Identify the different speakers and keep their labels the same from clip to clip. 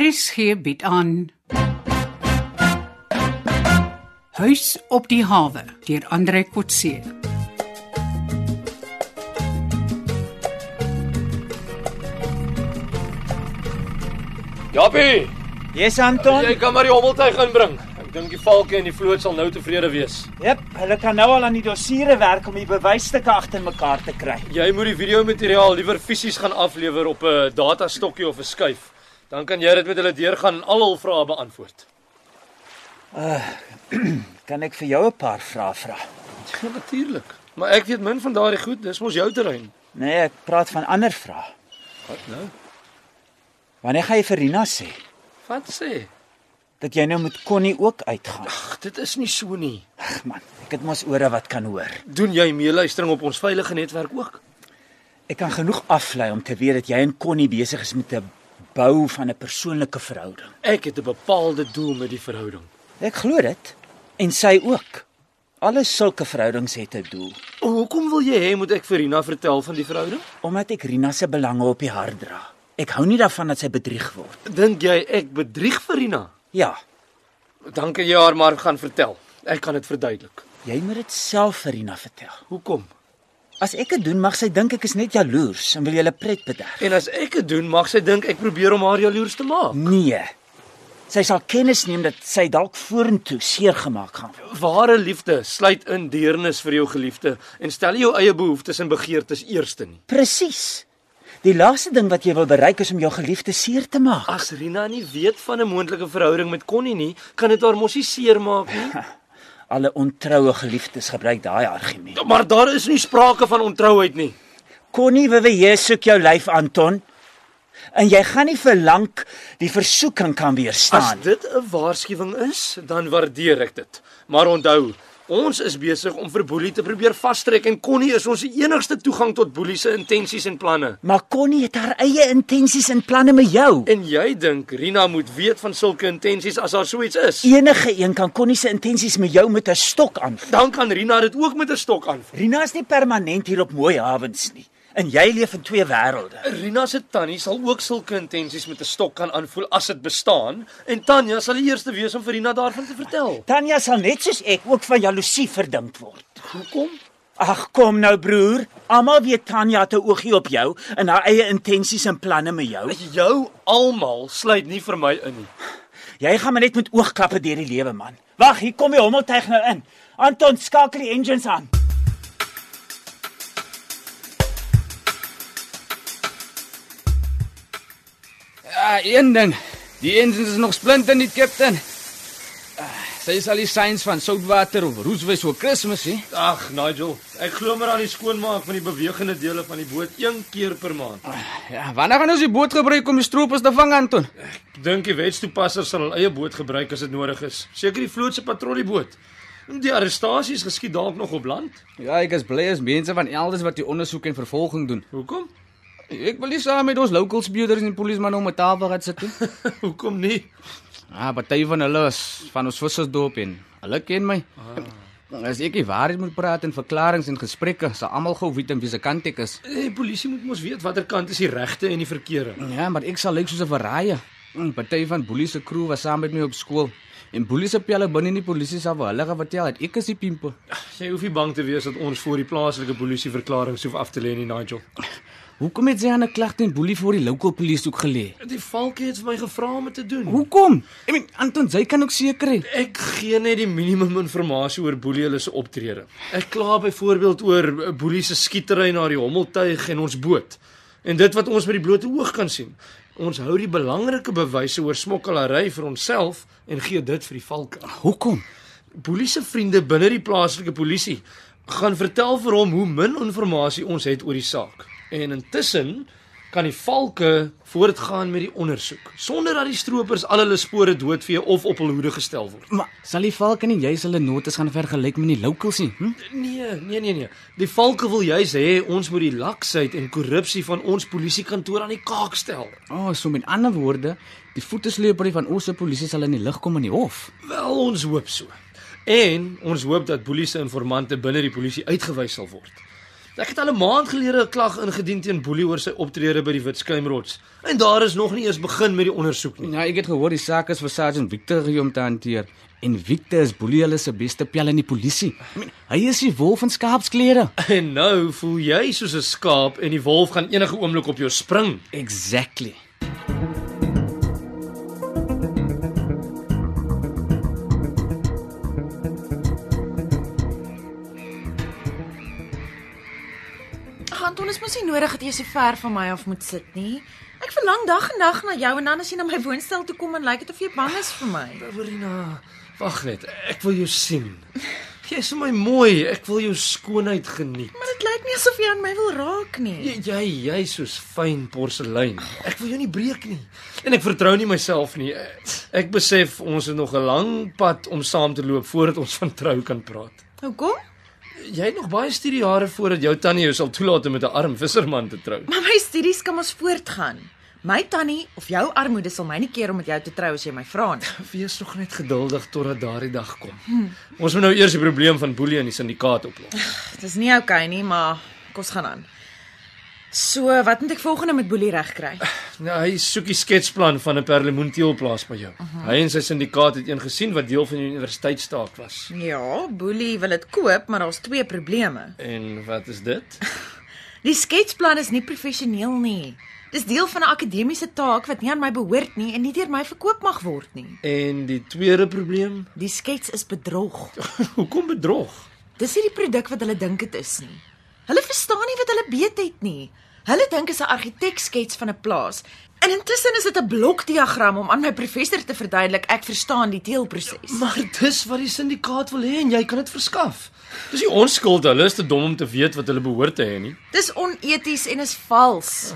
Speaker 1: RSG bied aan Huis op die hawe deur Andre Kotse.
Speaker 2: Jappie,
Speaker 3: Yes Anton.
Speaker 2: jy kan maar die hommeltuig inbring. Ek dink die valke en die vloot sal nou tevrede wees.
Speaker 3: Jep, hulle kan nou al aan die dossiere werk om die bewysstukke agter mekaar te kry.
Speaker 2: Jy moet die videomateriaal liewer fisies gaan aflewer op 'n datastokkie of 'n skuif. Dan kan jy dit met hulle deurgaan en al hul vrae beantwoord.
Speaker 3: Kan ek vir jou 'n paar vrae vra?
Speaker 2: Ja, natuurlik. Maar ek weet min van daardie goed, dis mos jou terrein.
Speaker 3: Nee, ek praat van ander vrae.
Speaker 2: Wat nou?
Speaker 3: Wanneer gaan jy vir Rina sê
Speaker 2: Wat sê?
Speaker 3: dat jy nou met Connie ook uitgaan?
Speaker 2: Ag, dit is nie so nie.
Speaker 3: Ag man, ek het mos ore wat kan hoor.
Speaker 2: Doen jy meeluistering op ons veilige netwerk ook?
Speaker 3: Ek kan genoeg aflei om te weet dat jy en Connie besig is met 'n bou van 'n persoonlike verhouding.
Speaker 2: Ek het 'n bepaalde doel met die verhouding.
Speaker 3: Ek glo dit en sy ook. Alle sulke verhoudings het 'n doel.
Speaker 2: O, hoekom wil jy hê moet ek vir Rina vertel van die verhouding?
Speaker 3: Omdat ek Rina se belange op die hart dra. Ek hou nie daarvan dat sy bedrieg word.
Speaker 2: Dink jy ek bedrieg vir Rina?
Speaker 3: Ja,
Speaker 2: Dan kan jy haar maar gaan vertel. Ek kan dit verduidelik.
Speaker 3: Jy moet dit self vir Rina vertel.
Speaker 2: Hoekom?
Speaker 3: As ek dit doen, mag sy dink ek is net jaloers en wil julle pret bederf.
Speaker 2: En as ek dit doen, mag sy dink ek probeer om haar jaloers te maak.
Speaker 3: Nee. Sy sal kennis neem dat sy dalk vorentoe seer gemaak gaan word.
Speaker 2: Ware liefde sluit in deernis vir jou geliefde en stel nie jou eie behoeftes en begeertes eerste nie.
Speaker 3: Presies. Die laaste ding wat jy wil bereik is om jou geliefde seer te maak.
Speaker 2: As Rina nie weet van 'n moontlike verhouding met Connie nie, kan dit haar mos nie seermaak nie.
Speaker 3: Alle ontroue geliefdes gebruik daai argument.
Speaker 2: Maar daar is nie sprake van ontrouheid nie.
Speaker 3: Connie Wewe soek jou lyf Anton. En jy gaan nie vir lank die versoeking kan
Speaker 2: As
Speaker 3: weerstaan.
Speaker 2: dit 'n waarskuwing is, dan waardeer ek dit. Maar onthou, ons is besig om vir Boelie te probeer vastrek en Connie is ons enigste toegang tot Boelie se intensies en planne.
Speaker 3: Maar Connie het haar eie intensies en planne met jou.
Speaker 2: En jy dink Rina moet weet van sulke intensies as daar so iets is?
Speaker 3: Enige een kan Connie se intensies met jou met 'n stok aanvul.
Speaker 2: Dan kan Rina dit ook met 'n stok aanvat.
Speaker 3: Rina is nie permanent hier op Mooi Havens nie. En jy leef in twee wêrelde.
Speaker 2: Rina se tannie sal ook sulke intensies met 'n stok kan aanvoel as dit bestaan en Tanya sal die eerste wees om vir Rina daarvan te vertel.
Speaker 3: Tanya sal net soos ek ook van jaloesie verdink word.
Speaker 2: Hoekom?
Speaker 3: Ag kom nou broer, almal weet Tanya het 'n oogie op jou en haar eie intensies en planne met jou.
Speaker 2: Jou almal sluit nie vir my in nie.
Speaker 3: Jy gaan maar net met oogklappe deur die lewe man. Wag, hier kom die hommeltuig nou in. Anton skakel die engines aan.
Speaker 4: Ja, een ding. Die engines is nog splinter nie, kaptein. Ah, Sy is al die signs van soutwater of roeswys oor Kersfees, hè?
Speaker 2: Ag, Nigel, ek glo maar aan die skoonmaak van die bewegende dele van die boot een keer per maand.
Speaker 4: Ja, wanneer gaan ons die boot gebruik om die stroopers te vang, Anton?
Speaker 2: Dink die wetstoepassers sal hul eie boot gebruik as dit nodig is. Seker die vloot se patrolleboot. Die arrestasies geskied dalk nog op land.
Speaker 4: Ja, ek is bly as mense van elders wat die ondersoek en vervolging doen.
Speaker 2: Hoekom?
Speaker 4: Ek wil nie saam met ons local speuders en polisiemanne om 'n tafel gaan sit nie.
Speaker 2: Hoekom nie?
Speaker 4: Ah, party van hulle is van ons vissersdorp en hulle ken my. Ah. As ek die waarheid moet praat in verklaringe en gesprekke, sal almal gou weet aan wie se kant ek is.
Speaker 2: Eh, Die polisie moet mos weet watter kant is die regte en die verkeerde.
Speaker 4: Ja, maar ek sal lyk soos 'n verraaier. 'n Party van boelie se crew was saam met my op skool. En boelie se pelle binne in die polisie sal vir hulle gaan vertel dat ek is die pimpel.
Speaker 2: Jy hoef nie bang te wees dat ons voor die plaaslike polisie verklaring hoef af te lê nie, Nigel.
Speaker 4: Hoekom het sy aan 'n klag teen boelie voor die local polisie ook gelê?
Speaker 2: Die valke het vir my gevra om dit te doen.
Speaker 4: Hoekom? Ek meen Anton, jy kan ook seker hê.
Speaker 2: Ek gee net die minimum inligting oor Boelie hulle se optrede. Ek kla byvoorbeeld oor eh, Boelie se skietery na die hommeltuig en ons boot. En dit wat ons met die blote oog kan sien. Ons hou die belangrike bewyse oor smokkelary vir onsself en gee dit vir die valke.
Speaker 4: Hoekom?
Speaker 2: Boelie se vriende binne die plaaslike polisie gaan vertel vir hom hoe min inligting ons het oor die saak. En intussen kan die valke voortgaan met die ondersoek sonder dat die stroopers al hulle spore doodvee of op hul hoede gestel word.
Speaker 4: Maar sal die valke nie jy hulle notas gaan vergelyk met die locals nie? Hm?
Speaker 2: Nee, nee nee nee. Die valke wil juis hê ons moet die laksheid en korrupsie van ons polisiekantoor aan die kaak stel.
Speaker 4: O, oh, so met ander woorde, die voetesleepery van ons se polisie sal in die lig kom in die hof.
Speaker 2: Wel, ons hoop so. En ons hoop dat polisie informante binne die polisie uitgewys sal word. Ek het al 'n maand gelede 'n klag ingedien teen Boelie oor sy optrede by die Witskuimrots en daar is nog nie eens begin met die ondersoek nie.
Speaker 4: Ja, ek het gehoor die saak is vir Sergeant Victor hier om te hanteer. En Victor is Boelie hulle se beste pel in die polisie. I mean, hy is die wolf in skaapsklere.
Speaker 2: En nou voel jy soos 'n skaap en die wolf gaan enige oomblik op jou spring.
Speaker 4: Exactly.
Speaker 5: Ag Anton, is mos nie nodig dat jy so ver van my af moet sit nie. Ek verlang dag en nag na jou en dan as jy na my woonstel toe kom en lyk dit of jy bang is vir my.
Speaker 2: Verina, wag net. Ek wil jou sien. Jy's vir my mooi. Ek wil jou skoonheid geniet.
Speaker 5: Maar dit lyk nie asof jy aan my wil raak nie.
Speaker 2: Jy jy jy's soos fyn porselein. Ek wil jou nie breek nie. En ek vertrou nie myself nie. Ek besef ons het nog 'n lang pad om saam te loop voordat ons van trou kan praat.
Speaker 5: Hoekom?
Speaker 2: Jy het nog baie studiejare voordat jou tannie jou sal toelaat om met 'n arm visserman te trou.
Speaker 5: Maar my studies kan ons voortgaan. My tannie of jou armoede sal my nie keer om met jou te trou as jy my vra nie.
Speaker 2: Wees nog net geduldig totdat daardie dag kom. Ons moet nou eers die probleem van boelie in die sindikaat oplos.
Speaker 5: Dit is nie oukei okay nie, maar kom ons gaan aan. So, wat moet ek volgende met Boelie regkry?
Speaker 2: Nou, hy soek die sketsplan van 'n perlemoenteelplaas by jou. Hy en sy sindikaat het een gesien wat deel van die universiteitsstaak was.
Speaker 5: Ja, Boelie wil dit koop, maar daar's twee probleme.
Speaker 2: En wat is dit?
Speaker 5: Die sketsplan is nie professioneel nie. Dis deel van 'n akademiese taak wat nie aan my behoort nie en nie deur my verkoop mag word nie.
Speaker 2: En die tweede probleem,
Speaker 5: Die skets is bedrog.
Speaker 2: hoekom bedrog?
Speaker 5: Dis nie die produk wat hulle dink dit is nie. Hulle verstaan nie wat hulle beet het nie. Hulle dink dit is 'n argitekskets van 'n plaas. En intussen is dit 'n blokdiagram om aan my professor te verduidelik ek verstaan die teelproses.
Speaker 2: Maar dis wat die sindikaat wil hê en jy kan dit verskaf. Dis nie ons skuld hulle is te dom om te weet wat hulle behoort te hê nie.
Speaker 5: Dis oneties en is vals.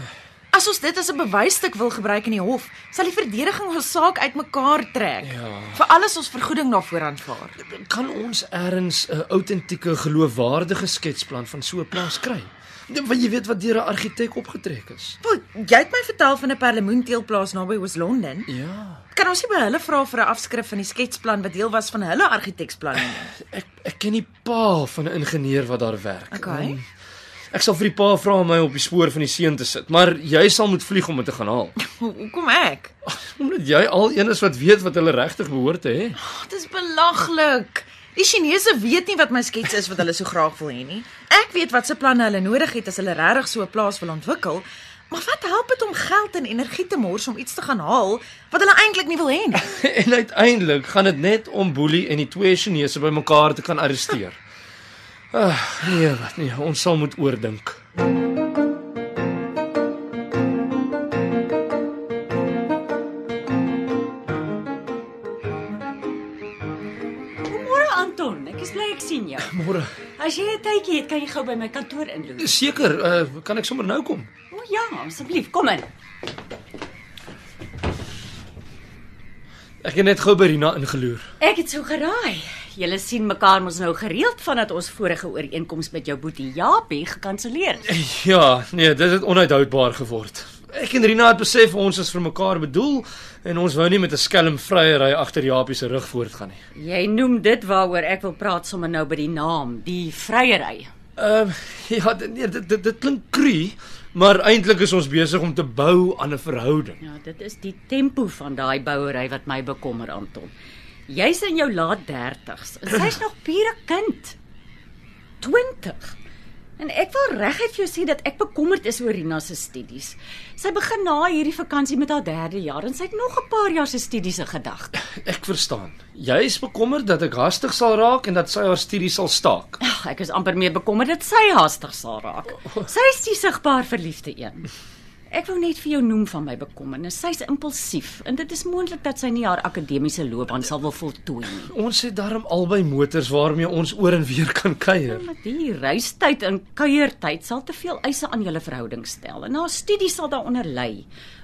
Speaker 5: As ons dit as 'n bewysstuk wil gebruik in die hof, sal die verdediging ons saak uitmekaar trek. Ja. Veral as ons vergoeding daarvoor aanvaar.
Speaker 2: Kan ons eers 'n outentieke geloofwaardige sketsplan van so 'n plaas kry? Want jy weet wat deur 'n argitek opgetrek is.
Speaker 5: Wel, jy het my vertel van 'n perlemoenteelplaas naby Oos-London.
Speaker 2: Ja,
Speaker 5: Kan ons nie by hulle vra vir 'n afskrif van die sketsplan wat deel was van hulle argiteksplan nie?
Speaker 2: ek ek ken die pa van 'n ingenieur wat daar werk.
Speaker 5: Okay.
Speaker 2: Ek sal vir die pa vra om my op die spoor van die seun te sit, maar jy sal moet vlieg om dit te gaan haal.
Speaker 5: Ho hoekom ek?
Speaker 2: Omdat jy al een is wat weet wat hulle regtig behoort te hê.
Speaker 5: Dit is belaglik. Die Chinese weet nie wat my skets is wat hulle so graag wil hê nie. Ek weet wat se planne hulle nodig het as hulle regtig so 'n plaas wil ontwikkel. Maar wat help dit om geld en energie te mors om iets te gaan haal wat hulle eintlik nie wil hê nie?
Speaker 2: En uiteindelik gaan dit net om Boelie en die twee Chinese bymekaar te kan arresteer. Ag, nee, wat nee, ons sal moet oordink.
Speaker 6: Goeiemôre Anton, ek is bly ek sien jou.
Speaker 2: Môre.
Speaker 6: As jy 'n tydjie het, kan jy gou by my kantoor inloop.
Speaker 2: Seker, uh, kan ek sommer nou kom?
Speaker 6: O ja, asseblief, kom in.
Speaker 2: Ek het net gou by Rina ingeloer.
Speaker 6: Ek het so geraai. Julle sien mekaar mos nou gereeld vandat ons vorige ooreenkoms met jou boetie Japie gekanselleer is.
Speaker 2: Ja, nee, dit het onhoudbaar geword. Ek en Rina het besef ons is vir mekaar bedoel en ons wou nie met 'n skelm vryery agter Japie se rug voortgaan nie.
Speaker 6: Jy noem dit waaroor ek wil praat sommer nou by die naam, die vryery.
Speaker 2: Ehm uh, ja, dit- nee, dit dit, dit klink kru, maar eintlik is ons besig om te bou aan 'n verhouding.
Speaker 6: Ja, dit is die tempo van daai bouery wat my bekommer Anton. Jy's in jou laat 30s en sy's nog pure kind. 20. En ek wil reguit vir jou sê dat ek bekommerd is oor Rina se studies. Sy begin na hierdie vakansie met haar derde jaar en sy het nog 'n paar jaar se studies in gedagte.
Speaker 2: Ek verstaan. Jy is bekommerd dat ek hastig sal raak en dat sy haar studie sal staak.
Speaker 6: Ag, ek is amper meer bekommerd dat sy haastig sal raak. Sy's die sigbaar verliefde een. Ek wou net vir jou noem van my bekommernis. Sy's impulsief en dit is moontlik dat sy nie haar akademiese loopbaan sal wil voltooi nie.
Speaker 2: Ons het darm albei motors waarmee ons oor en weer kan kuier.
Speaker 6: Maar die reistyd en kuiertyd sal te veel eise aan julle verhouding stel en haar studie sal daaronder lê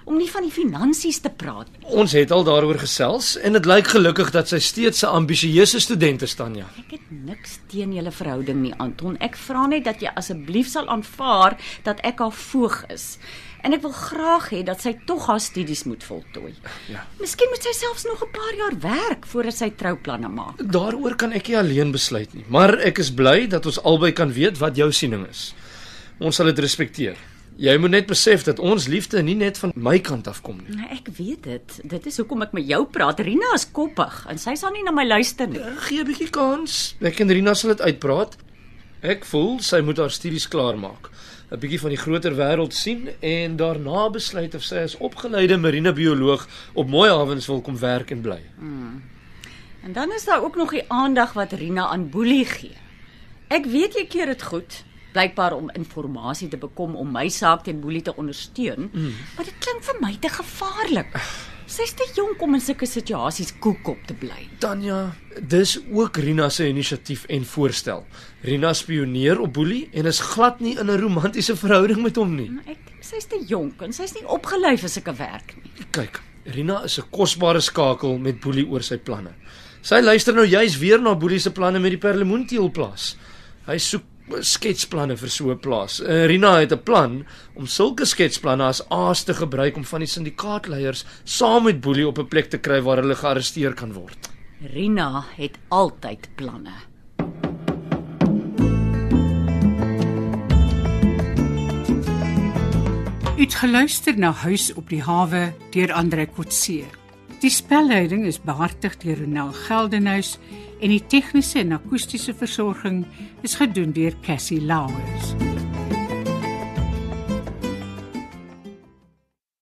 Speaker 6: om nie van die finansies te praat nie.
Speaker 2: Ons het al daaroor gesels en dit lyk gelukkig dat sy steeds 'n ambisieuse student is tanja.
Speaker 6: Ek het niks teen julle verhouding nie, Anton. Ek vra net dat jy asseblief sal aanvaar dat ek haar voog is. En ek wil graag hê dat sy tog haar studies moet voltooi.
Speaker 2: Ja.
Speaker 6: Miskien moet sy selfs nog 'n paar jaar werk voordat sy trouplanne maak.
Speaker 2: Daaroor kan ek nie alleen besluit nie, maar ek is bly dat ons albei kan weet wat jou siening is. Ons sal dit respekteer. Jy moet net besef dat ons liefde nie net van my kant af kom nie.
Speaker 6: Nou, ek weet dit. Dit is hoekom ek met jou praat. Rina is koppig en sy sal nie na my luister nie.
Speaker 2: Gee 'n bietjie kans. Ek en Rina sal dit uitpraat. Ek voel sy moet haar studies klaarmaak, 'n bietjie van die groter wêreld sien en daarna besluit of sy as opgeleide marinebioloog op mooi hawens wil kom werk en bly.
Speaker 6: En dan is daar ook nog die aandag wat Rina aan Boelie gee. Ek weet jy keer dit goed, blykbaar om inligting te bekom om my saak teen Boelie te ondersteun, mm. maar dit klink vir my te gevaarlik. Sy's te jonk om in sulke situasies koekop te bly.
Speaker 2: Tanya, dis ook Rina se inisiatief en voorstel. Rina spioneer op Boelie en is glad nie in 'n romantiese verhouding met hom nie.
Speaker 6: Maar Nou, ek dink sy's te jonk en sy's nie opgelei vir sulke werk nie.
Speaker 2: Kyk, Rina is 'n kosbare skakel met Boelie oor sy planne. Sy luister nou juis weer na Boelie se planne met die perlemoenteelplaas. Hy soek sketsplanne vir so 'n plaas. En Rina het 'n plan om sulke sketsplanne as aas te gebruik om van die syndikaatleiers saam met Boelie op 'n plek te kry waar hulle gearresteer kan word.
Speaker 6: Rina het altyd planne.
Speaker 1: Uitgeluister na Huis op die hawe deur Andre Kotse. Die spelleiding is behartig deur Ronel Geldenhuys en die tegniese en akoestiese versorging is gedoen deur Cassie Lauers.